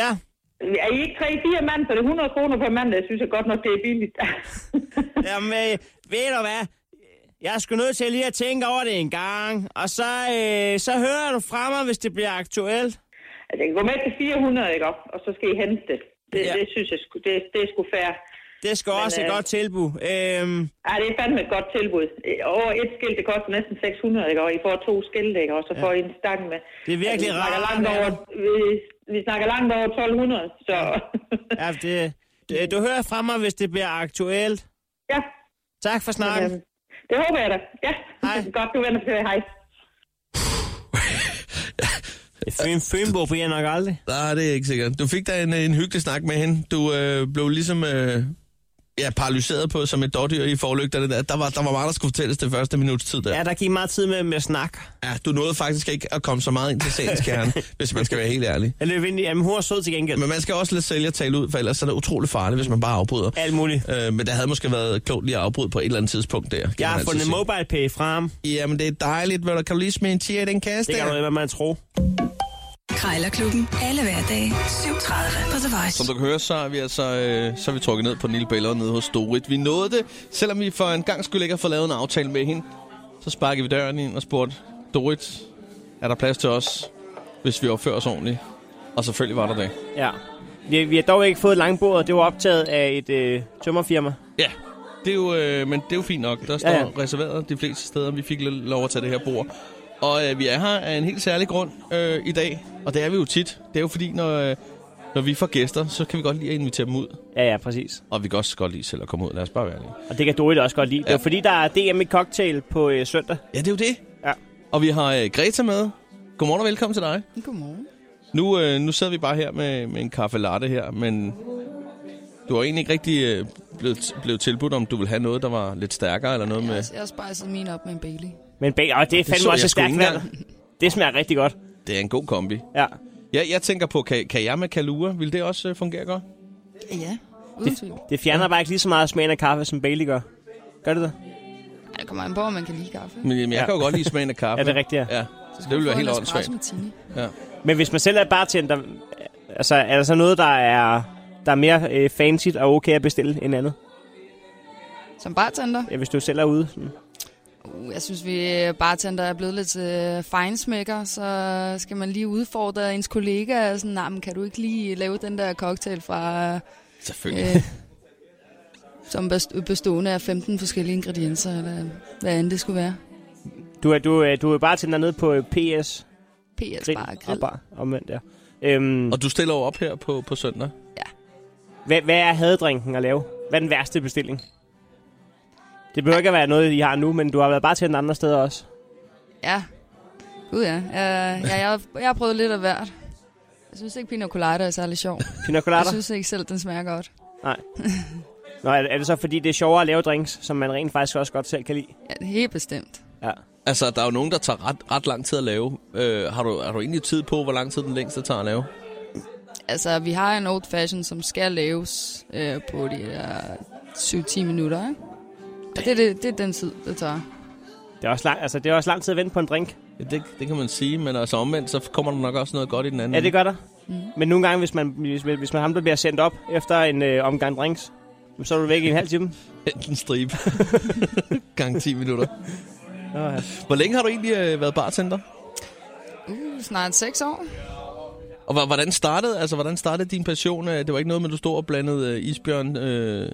Ja, Er I ikke 3-4 mand, så er det 100 kroner per mand, jeg synes jeg godt nok, det er billigt. Jamen, øh, ved du hvad? Jeg er sgu nødt til lige at tænke over det en gang. Og så, øh, så hører du fra mig, hvis det bliver aktuelt. Altså, jeg kan gå med til 400, ikke op? Og så skal I hente det. Det, Ja. ja. det synes jeg, sgu- det, det er sgu fair. Det skal Men, Men, også et øh, godt tilbud. Øhm, Ja, det er fandme et godt tilbud. Øh, Over et skilt, det koster næsten 600, ikke? Og I får to skilte, ikke? Og så får I en stang med. Altså, Det er virkelig vi snakker rart, langt mand. over, vi, vi snakker langt over 1200, så... ja, det, det, du hører fra mig, hvis det bliver aktuelt. ja, Tak for snakken. øhm, det håber jeg da. Ja, Hej. godt, du vender til. Hej. Fyn, Fynbo bliver jeg nok aldrig. Nej, det er ikke sikkert. Du fik da en, en hyggelig snak med hende. Du øh, blev ligesom øh, ja, paralyseret på som et dårdyr i forlygterne. Der, der, var, der var meget, der skulle fortælles det første minuts tid der. Ja, der gik meget tid med, med snak. Ja, du nåede faktisk ikke at komme så meget ind til sagens kerne, hvis man skal være helt ærlig. Jeg løb ind i, jamen hun er sød til gengæld. Men man skal også lade sælger tale ud, for ellers er det utrolig farligt, hvis man bare afbryder. Alt muligt. Øh, men der havde måske været klogt lige at afbryde på et eller andet tidspunkt der. kan Jeg man har altid fundet sige. mobile pay frem. Jamen, det er dejligt. Hvad der kan du lige smide en tier i den kasse Det kan der? du ikke, hvad man tror. Krejlerklubben. Krejlerklubben. Alle hverdage 7.30 på The Voice. Som du kan høre, så er vi altså øh, så er vi trukket ned på den lille bælger nede hos Dorit. Vi nåede det, selvom vi for en gang skulle ikke have fået lavet en aftale med hende. Så sparkede vi døren ind og spurgte, Dorit, er der plads til os, hvis vi opfører os ordentligt? Og selvfølgelig var der det. Ja. Vi, vi har dog ikke fået langbordet. Det var optaget af et øh, tømmerfirma. Ja, det er jo, øh, men det er jo fint nok. Der står ja, ja. ja. reserveret de fleste steder, vi fik lo- lov at tage det her bord. Og øh, vi er her af en helt særlig grund øh, i dag, og det er vi jo tit. Det er jo fordi, når, øh, når vi får gæster, så kan vi godt lide at invitere dem ud. Ja, ja, præcis. Og vi kan også godt lide selv at komme ud. Lad os bare være ærlige. Og det kan Dorit også godt lide. Ja. Det er fordi, der er DM i cocktail på øh, søndag. Ja, det er jo det. Ja. Og vi har øh, Greta med. Godmorgen og velkommen til dig. Godmorgen. Nu, øh, nu sidder vi bare her med, med en kaffe latte her, men du har egentlig ikke rigtig øh, blevet, blevet tilbudt, om du vil have noget, der var lidt stærkere eller noget med... Jeg har spejset min op med en Bailey. Men bag, åh, det er Det fandme så også jeg et sgu ikke stærkt valg. Det smager rigtig godt. Det er en god kombi. Ja. Ja, jeg tænker på, kan, kan jeg med kalua? Vil det også øh, fungere godt? Ja, uden Det, tvivl. det fjerner bare ikke lige så meget smagen af kaffe, som Bailey gør. Gør det det? Ej, Det kommer an på, om man kan lide kaffe. Men jamen, jeg Ja. kan jo godt lide smagen af kaffe. Ja, det er rigtigt, ja. ja. Så det ville være helt åndssvagt. åndssvagt. Men hvis man selv er bartender, altså, er der så noget, der er, der er mere øh, fancy og okay at bestille end andet? Som bartender? Ja, hvis du selv er ude. Sådan. Uh, jeg synes, vi øh, bartender er blevet lidt øh, fejnsmækker, så skal man lige udfordre ens kollega. Sådan, nah, men kan du ikke lige lave den der cocktail fra... Selvfølgelig. Øh, som best- bestående af 15 forskellige ingredienser, eller hvad end det skulle være. Du er, du, er, du er bartender nede på øh, PS. PS Grill bare og grill. bar, omvendt, ja. Øhm, Og du stiller jo op her på, på søndag. hvad, hvad er hadedrinken at lave? Hvad er den værste bestilling? Det behøver ikke at være noget, I har nu, men du har været bartender andre steder også. Ja. Gud ja. Uh, ja jeg, har- jeg har prøvet lidt af hvert. Jeg synes ikke, pina colada er særlig sjov. Pina Jeg colada? synes ikke selv, den smager godt. Nå, er, er det så fordi, det er sjovere at lave drinks, som man rent faktisk også godt selv kan lide? Ja, det er helt bestemt. Ja. Altså, der er jo nogen, der tager ret, ret lang tid at lave. Øh, har, du, har du egentlig tid på, hvor lang tid den længste tager at lave? Altså, vi har en old fashion, som skal laves øh, på de der 7-10 minutter, ikke? Og det, er det, det er den tid, det tager. Det er, også lang, altså, det er også lang tid at vente på en drink. Ja, det, det kan man sige, men altså omvendt, så kommer der nok også noget godt i den anden. Ja, det gør der. Mm. Men nogle gange, hvis man, hvis, hvis man ham, der bliver sendt op efter en øh, omgang drinks, så er du væk i en halv time. Hent en stribe. Gang 10 minutter. Nå, ja. Hvor længe har du egentlig øh, været bartender? Uh, snart 6 år. Og hva- hvordan startede, altså, hvordan startede din passion? Øh, Det var ikke noget med, at du stod og blandede øh, isbjørn øh,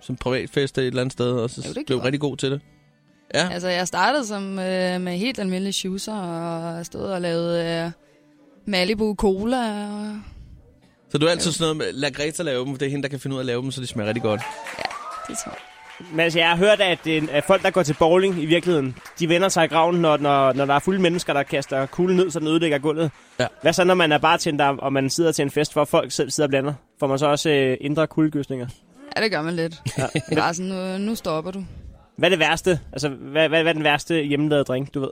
som privatfest et eller andet sted, og så Jo, det jo, blev gjorde rigtig god til det. Altså, jeg startede som øh, med helt almindelige shoeser, og stod og lavede øh, Malibu Cola. Og, Så du er altid sådan noget med, lad Greta lave dem, det er hende, der kan finde ud af at lave dem, så de smager rigtig godt. det tror jeg. Men altså, jeg har hørt, at, øh, at folk, der går til bowling i virkeligheden, de vender sig i graven, når, når, når der er fulde mennesker, der kaster kuglen ned, så den ødelægger gulvet. Ja. Hvad så, når man er bartender, og man sidder til en fest, hvor folk selv sidder og blander? Får man så også øh, indre kuldegysninger? Ja, det gør man lidt. Ja. Det er bare sådan, nu, nu stopper du. Hvad er det værste? Altså, hvad, hvad, hvad er den værste hjemmelavede drink, du ved?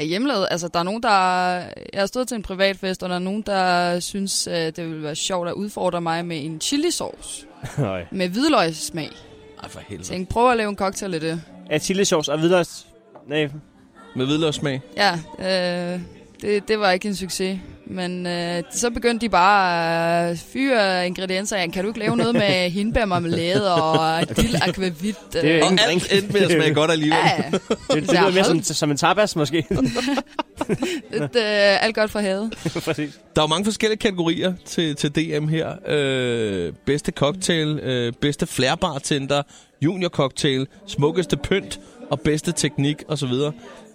er hjemmelavet. Altså, der er nogen, der... Jeg har stået til en privat fest, og der er nogen, der synes, øh, det ville være sjovt at udfordre mig med en chilisauce Nej. med hvidløgssmag. Ej, for Jeg helvede. tænkte, prøv at lave en cocktail af det. Er chilisauce og hvidløst? Nej. Med hvidløgssmag. Ja, øh, det, det var ikke en succes. Men øh, så begyndte de bare øh, at fyre ingredienser af. Kan du ikke lave noget med hindbærmarmelade og dill akvavit? er jo Øh, Og Ingen alt drink. endte med at smage godt alligevel. Ja, ja. Det, det lyder mere som, som en tapas, måske. Lidt, øh, alt godt for havet. Præcis. Der er jo mange forskellige kategorier til, til DM her. Øh, bedste cocktail, øh, bedste flærbartender, junior cocktail, smukkeste pynt og bedste teknik osv.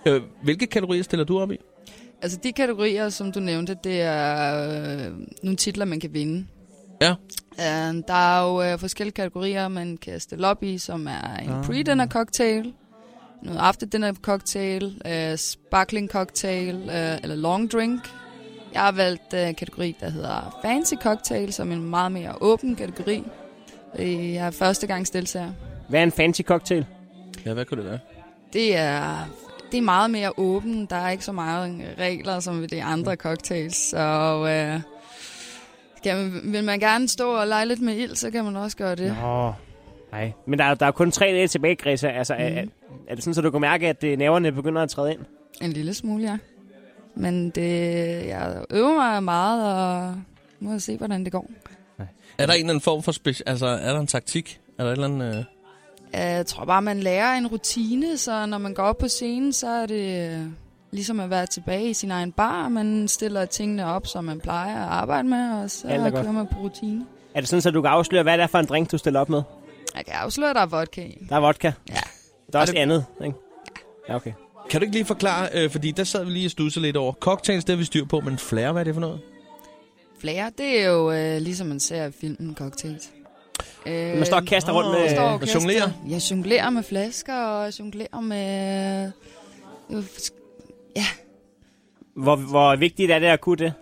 Øh, hvilke kategorier stiller du op i? Altså de kategorier, som du nævnte, det er øh, nogle titler, man kan vinde. Ja. Øh, der er jo øh, forskellige kategorier, man kan stille op i, som er en pre-dinner cocktail, noget after-dinner cocktail, øh, sparkling cocktail øh, eller long drink. Jeg har valgt øh, en kategori, der hedder fancy cocktail, som er en meget mere åben kategori. Øh, Jeg er første gang deltager. Hvad er en fancy cocktail? Ja, hvad kunne det være? Det er, det er meget mere åben. Der er ikke så meget øh, regler som ved de andre cocktails. Så øh, skal man, vil man gerne stå og lege lidt med ild, så kan man også gøre det. Ja. Nå. Nej. Men der, er- der er kun tre dage tilbage, Mhm. Greta. Altså, mm. er, er, er det sådan, så du kan mærke, at øh, næverne begynder at træde ind? En lille smule, ja. Men det, jeg øver mig meget, og nu må jeg se, hvordan det går. Er der en eller anden form for speci- Altså, er der en taktik? Er der et eller andet... Øh... Øh, Jeg tror bare, man lærer en rutine, så når man går op på scenen, så er det øh, ligesom at være tilbage i sin egen bar. Man stiller tingene op, som man plejer at arbejde med, og så Alt er kører godt. man på rutine. Er det sådan, at du kan afsløre, hvad det er for en drink, du stiller op med? Jeg kan afsløre, at der er vodka i. Der er vodka. Ja. Der er også andet, ikke? Ja, okay. Kan du ikke lige forklare, øh, fordi der sad vi lige og studsede lidt over. Cocktails, det har vi styr på, men flair, hvad er det for noget? Flere, det er jo øh, ligesom man ser i filmen Cocktails. Øh, Man står og kaster rundt med- man står og og kaster. jonglerer. Ja, jonglerer med flasker og jonglerer med... øh, Hvor, hvor vigtigt er det at kunne det?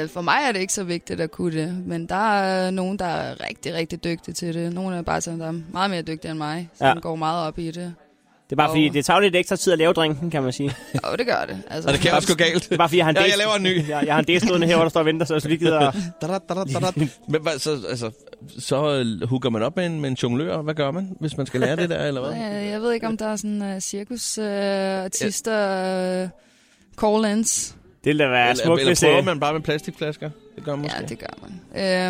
Øh, for mig er det ikke så vigtigt at kunne det, men der er nogen, der er rigtig, rigtig dygtige til det. Nogle er bare sådan, der er meget mere dygtige end mig, som Ja. ja. går meget op i det. Det er bare Og- fordi, det tager lidt ekstra tid at lave drinken, kan man sige. Jo, det gør det. Altså, Og det kan også gå galt. Det er bare fordi, jeg har en Ja, date- jeg laver en ny. jeg, jeg har en del stående her, hvor der står og venter, så jeg lige gider at... Men hvad, så, altså, så øh, hooker man op med en, med en jonglør. Hvad gør man, hvis man skal lære det der, eller hvad? Øh, jeg ved ikke, om der er sådan uh, cirkusartister, uh, call-ins. Det ville da være eller, smukt, eller hvis øh, prøver det... man bare med plastikflasker? Det gør man måske. Ja, det gør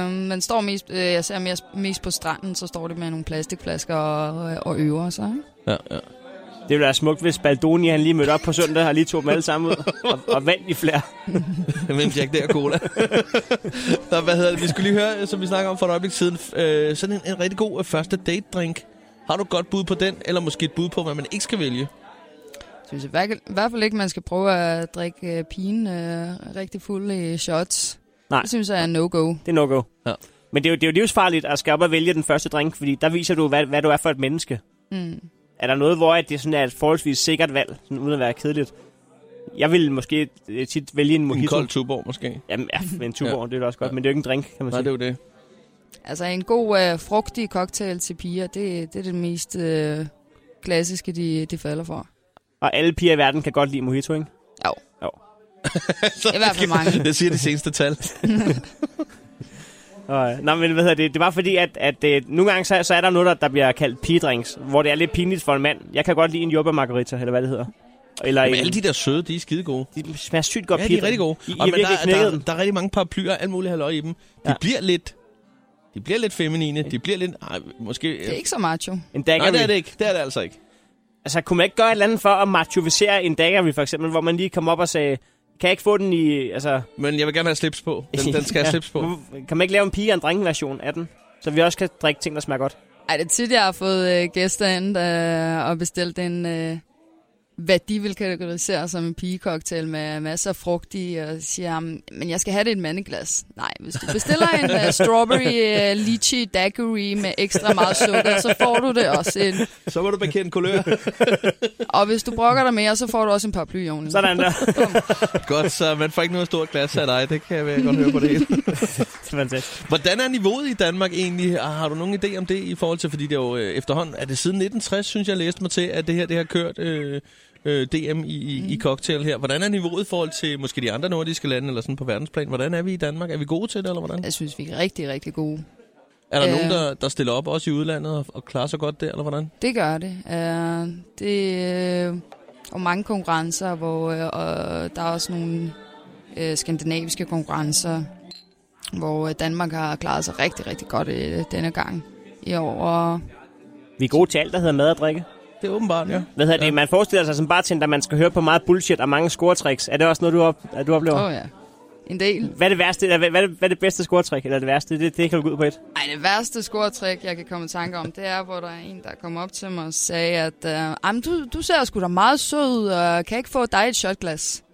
man. Øh, man står mest, øh, jeg ser mest, mest på stranden, så står det med nogle plastikflasker og, øh, og øver sig. ikke? Ja, ja. Det ville være smukt, hvis Baldoni han lige mødte op på søndag og lige tog dem alle sammen ud og, og vandt i flere. med en Jack der cola. Nå, hvad hedder det? Vi skulle lige høre, øh, som vi snakker om for et øjeblik siden, øh, sådan en, en rigtig god øh, første date drink. Har du et godt bud på den, eller måske et bud på, hvad man ikke skal vælge? Jeg synes i hver- i hvert fald ikke, man skal prøve at drikke øh, pigen øh, rigtig fuld i shots. Nej. Det synes jeg er no-go. Det er no-go. Ja. Men det er, jo, det er jo livsfarligt at skal op og vælge den første drink, fordi der viser du, hvad, hvad du er for et menneske. Mm. Er der noget, hvor at det sådan er et forholdsvis sikkert valg, sådan, uden at være kedeligt? Jeg vil måske øh, tit vælge en mojito. En kold tuborg måske. Jamen, ja, men en tuborg, Ja. ja. det er da også godt, ja. men det er jo ikke en drink, kan man Nej, sige. det er jo det. Altså en god, øh, frugtig cocktail til piger, det, det er det mest øh, klassiske, de, de falder for. Og alle piger i verden kan godt lide mojito, ikke? Jo. jo. I hvert fald mange. Det siger de seneste tal. Og, øh, Nå, men hvad hedder det? Det var fordi, at, at øh, nogle gange så, så er der noget, der, der bliver kaldt pigedrinks, hvor det er lidt pinligt for en mand. Jeg kan godt lide en jobba margarita, eller hvad det hedder. Eller Men en- alle de der søde, de er skide gode. De smager sygt godt Ja, de er pigedrink. rigtig gode. I, I Og har men der, virkelig er- knækket der, dem. der, er rigtig mange paraplyer og alt muligt halløj i dem. De Ja. bliver lidt... De bliver lidt feminine. De bliver lidt... Ej, måske... Det er ikke så macho. En dagger Nej, det er vi- det ikke. Det er det altså ikke. Altså, kunne man ikke gøre et eller andet for at machovisere en dagger, vi for eksempel, hvor man lige kom op og sagde, kan jeg ikke få den i... Altså, Men jeg vil gerne have slips på. Den, den skal jeg have slips på. Kan man ikke lave en pige- og en drenge-version af den? Så vi også kan drikke ting, der smager godt. Ej, det er tit, jeg har fået øh, gæster ind øh, og bestilt en, øh, hvad de vil kategorisere som en pigecocktail med masser af frugt i, og siger, "Jamen, men jeg skal have det i et mandeglas. Nej, hvis du bestiller en øh, strawberry øh, lychee daiquiri med ekstra meget sukker, så får du det også. En, Så må du bekende kulør. og hvis du brokker dig mere, så får du også en paraply oveni. Sådan der. Godt, så man får ikke noget stort glas af dig. Det kan jeg vel godt høre på det hele. Fantastisk. Hvordan er niveauet i Danmark egentlig? Ah, Har du nogen idé om det i forhold til, fordi det er jo øh, efterhånden, er det siden 1960, synes jeg, læste mig til, at det her det har kørt øh, øh, DM i, i, mm. i cocktail her. Hvordan er niveauet i forhold til måske de andre nordiske lande eller sådan på verdensplan? Hvordan er vi i Danmark? Er vi gode til det, eller hvordan? Jeg synes, vi er rigtig, rigtig gode. Er der øh. øh. nogen, der, der stiller op også i udlandet og, og klarer sig godt der, eller hvordan? Det gør det. Uh, det øh, og mange konkurrencer, hvor øh, og der er også nogle øh, skandinaviske konkurrencer, hvor øh, Danmark har klaret sig rigtig, rigtig godt øh, denne gang i år. Og Vi er gode til alt, der hedder mad og drikke. Det er åbenbart, ja. Hvad hedder ja. det? Man forestiller sig som bartender, at man skal høre på meget bullshit og mange scoretricks. Er det også noget, du, op, at du oplever? Åh oh, ja, en del. Hvad er det værste? Eller hvad, hvad, er det- hvad er det bedste scoretrick? Eller det værste? Det, det kan du gå ud på et. Ej, det værste scoretræk, jeg kan komme i tanke om, det er, hvor der er en, der kom op til mig og sagde, at øh, "Jamen, du, du ser sgu da meget sød ud, og kan jeg ikke få dig et shotglas?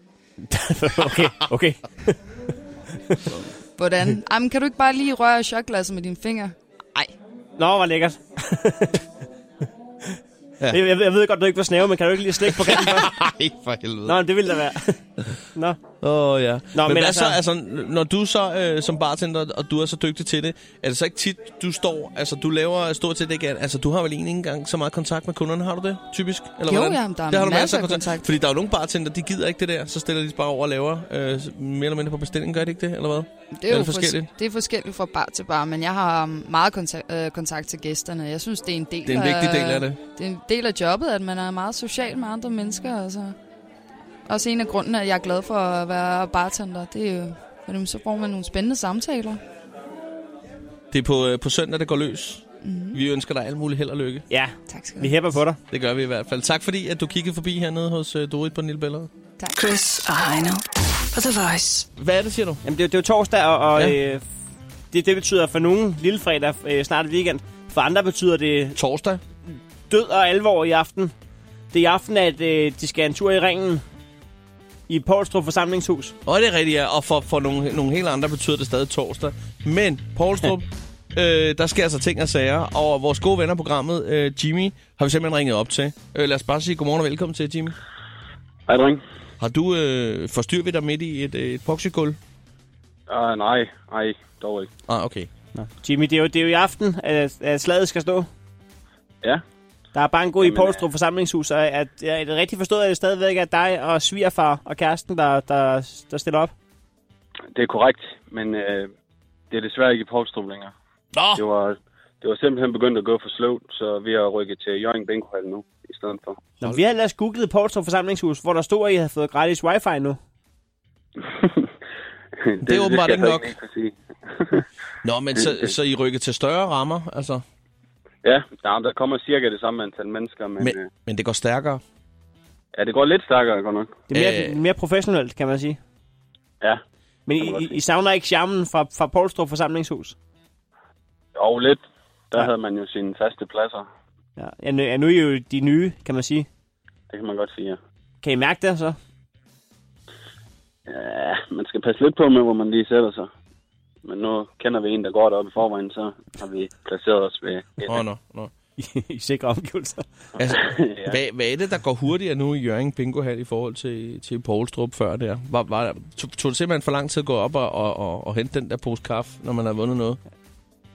okay, okay. Hvordan? Jamen, kan du ikke bare lige røre shotglasset med dine fingre? Nej, Nå, hvor lækkert. Ja. ja. jeg, jeg, jeg, ved godt, du ikke var snæve, men kan du ikke lige slikke på kanten? først? Ej, for helvede. Nå, men det ville da være. Nå. Åh, oh, ja. Nå, men, men men altså, altså- altså, når du så øh, som bartender, og du er så dygtig til det, er det så ikke tit, du står, altså du laver stort set ikke, alt- altså du har vel egentlig ikke engang så meget kontakt med kunderne, har du det, typisk? Eller Jo, hvordan? jamen, der er det har du masser masser af af kontakt. kontakt. Fordi der er jo nogle bartender, de gider ikke det der, så stiller de sig bare over og laver øh, mere eller mindre på bestilling, gør de ikke det, eller hvad? Det er jo Eller forskelligt? forskelligt. Det er forskelligt fra bar til bar, men jeg har um, meget kontakt, øh, kontakt til gæsterne. Jeg synes, det er en del Det er en vigtig del af det. Det er en del af jobbet, at man er meget social med andre mennesker. Altså. Også en af grunden, at jeg er glad for at være bartender, det er jo, fordi så får man nogle spændende samtaler. Det er på, øh, på søndag, det går løs. Mhm. Mm-hmm. Vi ønsker dig alle mulige held og lykke. Ja, tak skal vi hæpper på dig. Det gør vi i hvert fald. Tak fordi, at du kiggede forbi hernede hos øh, Dorit på den lille billede. Tak. Chris og Heino på The Voice. Hvad er det, siger du? Jamen, det, er- det er jo torsdag, og, og Ja. ja. øh, det, det betyder for nogen lille fredag, øh, snart et weekend. For andre betyder det Torsdag? død og alvor i aften. Det er i aften, at øh, de skal en tur i ringen i Poulstrup forsamlingshus. Og det er rigtigt, ja. Og for, for nogle, nogle helt andre betyder det stadig torsdag. Men, Poulstrup, øh, der sker altså ting og sager. Og vores gode venner i programmet, øh, Jimmy, har vi simpelthen ringet op til. Øh, lad os bare sige godmorgen og velkommen til, Jimmy. Hej, dreng. Har du øh, forstyrret vi dig midt i et, øh, et poxygulv? Uh, nej, nej, dog ikke. Ah, okay. Jimmy, det er jo, det er jo i aften, at, at slaget skal stå. Ja, Der er banko i Jamen, øh, Poulstrup forsamlingshus, og at, er det rigtigt forstået, at det stadigvæk er dig og svigerfar og kæresten, der, der, der stiller op? det er korrekt, men øh, det er desværre ikke i Poulstrup længere. Det Nå! var, det var simpelthen begyndt at gå for sløvt, så vi har rykket til Jørgen Binkohal nu i stedet for. Nå, vi har ellers googlet Poulstrup forsamlingshus, hvor der stod, at I havde fået gratis wifi nu. det, Det er åbenbart skal jeg ikke så nok. lige kunne sige. Nå, men så, så I rykker til større rammer, altså. ja, der, der kommer cirka det samme antal mennesker, men, men... Men, Øh, men det går stærkere. ja, det går lidt stærkere godt nok. Det er mere, Øh. øh... mere professionelt, kan man sige. Ja, Men kan man I, godt I, I savner ikke charmen fra, fra Poulstrup forsamlingshus? og lidt. Der Ja. ja. havde man jo sine faste pladser. Ja, ja, nu, ja, nu er I jo de nye, kan man sige. Det kan man godt sige, ja. Kan I mærke det så? Ja, man skal passe lidt på med, hvor man lige sætter sig. Men nu kender vi en, der går deroppe i forvejen, så har vi placeret os ved... Åh, oh, nå, nå. I- I sikre omgivelser. Altså, Ja. hvad, hvad er det, der går hurtigere nu i Jørgen Bingo Hall i forhold til, til Poulstrup før der? Var, var, tog, tog det simpelthen for lang tid at gå op og, og, og, og hente den der pose kaffe, når man har vundet noget?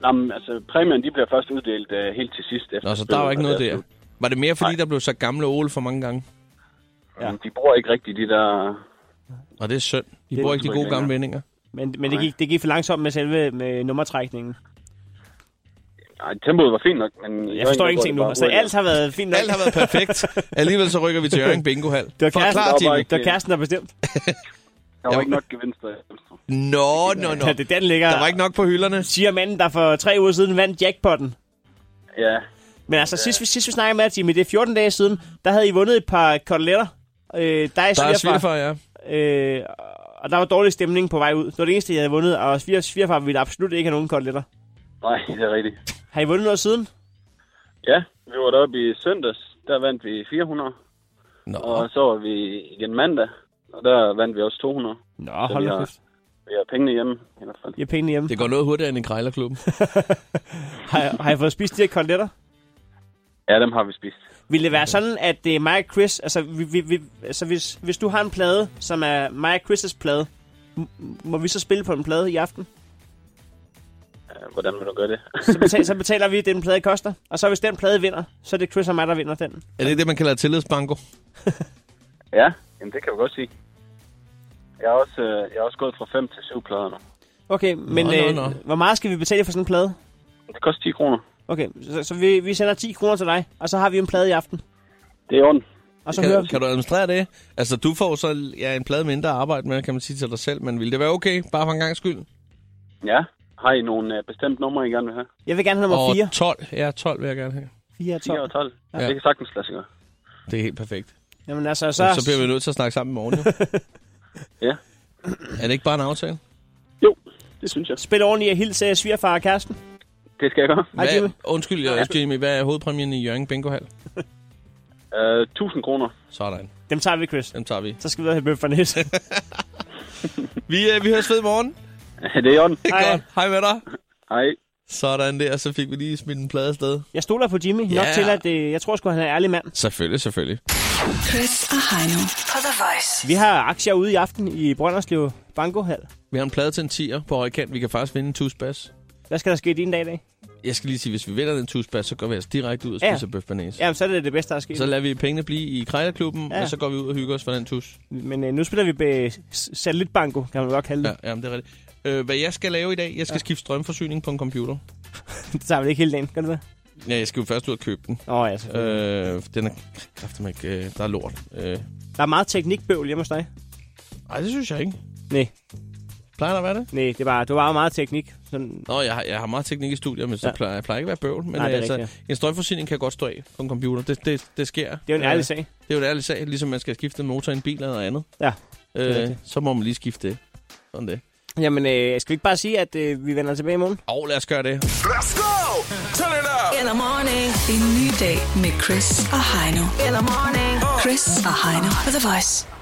Nå, men, altså, præmien de bliver først uddelt uh, helt til sidst. Efter Nå, så der var spillet, ikke og noget det er der. slut. Var det mere, fordi Nej. der blev så gamle ål for mange gange? Ja. Men De bruger ikke rigtig de der... Og det er synd. De Det bruger er ikke de gode udtryk gamle vendinger. Men, men det, gik, det gik for langsomt med selve med nummertrækningen. Ej, tempoet var fint nok, men... Jeg forstår ingenting nu. Så alt har været fint nok. Alt har været perfekt. Alligevel så rykker vi til Jørgen Bingo Hall. Det var kæresten, Forklar, der var Jimmy. ikke- Det var kæresten, der bestemt. Der var Jeg- ikke nok gevinster. efter. Nå, nå, nå. Ja, det er der, den ligger. Der var ikke nok på hylderne. Siger manden, der for tre uger siden vandt jackpotten. Ja, Men altså, sidst, vi, sidst vi snakkede med dig, Jimmy, det er 14 dage siden, der havde I vundet et par koteletter. Øh, der er Der er svigerfar. svigerfar, ja. Øh, og der var dårlig stemning på vej ud. Det var det eneste, jeg havde vundet, og sviger, svigerfar ville absolut ikke have nogen koteletter. nej, det er rigtigt. Har I vundet noget siden? Ja, vi var deroppe i søndags. Der vandt vi 400. Nå, Og så var vi igen mandag. Og der vandt vi også 200. Nå, Så hold vi da har- kæft. Vi har pengene hjemme, i hvert fald. Jeg har pengene hjemme. det går noget hurtigere end i Krejlerklubben. Har, har I fået spist de her koteletter? Ja, dem har vi spist. Vil det være sådan, at det er mig og Chris... Altså, vi, vi, vi, altså hvis, hvis du har en plade, som er mig og Chris' plade, m- må vi så spille på en plade i aften? Ja, Hvordan vil du gøre det? Så betaler, så betaler vi det, den plade koster. Og så hvis den plade vinder, så er det Chris og mig, der vinder den. Er det ikke det, man kalder tillidsbanko? Ja, jamen det kan vi godt sige. Jeg har også, øh, jeg har også gået fra 5 til 7 plader nu. Okay, men Nå, nå, øh, nå. hvor meget skal vi betale for sådan en plade? Det koster 10 kroner. Okay, så, så vi, vi sender 10 kroner til dig, og så har vi en plade i aften. Det er ondt. Og så hører Kan, vi. kan du administrere det? Altså, du får så ja, en plade mindre at arbejde med, kan man sige til dig selv, men ville det være okay, bare for en gang skyld? Ja. Har I nogle øh, bestemte numre, I gerne vil have? Jeg vil gerne have nummer Og 4. 12. Ja, 12 vil jeg gerne have. 4 og 10 12. og 12? Ja. Ja. Det kan sagtens lade sig gøre. Det er helt perfekt. Jamen altså, så... Så bliver vi nødt til at snakke sammen i morgen, jo. Ja. Er det ikke bare en aftale? Jo, det synes jeg. Spil ordentligt og hils øh, svigerfar og kæresten. Det skal jeg gøre. Hej, Hvad, Jimmy. undskyld, jeg, Jimmy. Hvad er hovedpræmien i Jørgen Bingo Hall? Uh, 1000 kroner. Sådan. Dem tager vi, Chris. Dem tager vi. Så skal vi ud og have bøf for næse. Vi, øh, vi høres ved i morgen. det er ondt. Det er Hej. godt. Hej med dig. Hej. Sådan der, så fik vi lige smidt en plade afsted. Jeg stoler på Jimmy. Nok Ja. til, at øh, jeg tror sgu, han er en ærlig mand. Selvfølgelig, selvfølgelig. Chris og Heino på The Voice. Vi har aktier ude i aften i Brønderslev Bankohal. Vi har en plade til en 10'er på højkant. Vi kan faktisk vinde en tusbas. Hvad skal der ske din dag i dag? Jeg skal lige sige, hvis vi vinder den tusbas, så går vi altså direkte ud og Ja. spiser ja. bøf bearnaise. Jamen, så er det det bedste, der er sket. Så lader vi pengene blive i Krejlerklubben, ja. Ja. og så går vi ud og hygger os for den tus. Men øh, nu spiller vi be- s- satellitbanko, kan man godt kalde det. Ja, jamen, det er rigtigt. Øh, hvad jeg skal lave i dag, jeg skal ja. skifte strømforsyning på en computer. det tager vi ikke hele dagen, gør det det? Ja, jeg skal jo først ud og købe den. Åh, oh, ja, selvfølgelig. Øh, den er kraftig, øh, der er lort. Øh, Der er meget teknikbøvl hjemme hos dig. Nej, det synes jeg ikke. Nej. Plejer der at være det? Nej, det var, det var meget teknik. Sådan, Nå, jeg har, jeg har meget teknik i studiet, men så Ja. ja. plejer, jeg plejer ikke at være bøvl. Men Nej, det er altså, rigtigt. en støjforsyning kan godt stå af på en computer. Det, det, det sker. Det er jo en ærlig sag. Det er jo en ærlig sag, ligesom man skal skifte en motor i en bil eller noget andet. Ja, det er Øh, rigtigt. så må man lige skifte det. Sådan det. Jamen, øh, skal vi ikke bare sige, at øh, vi vender tilbage i morgen? Og lad os gøre det. Let's go! Turn it up! In the morning. En ny dag med Chris og Heino. In the morning. Chris og Heino på The Voice.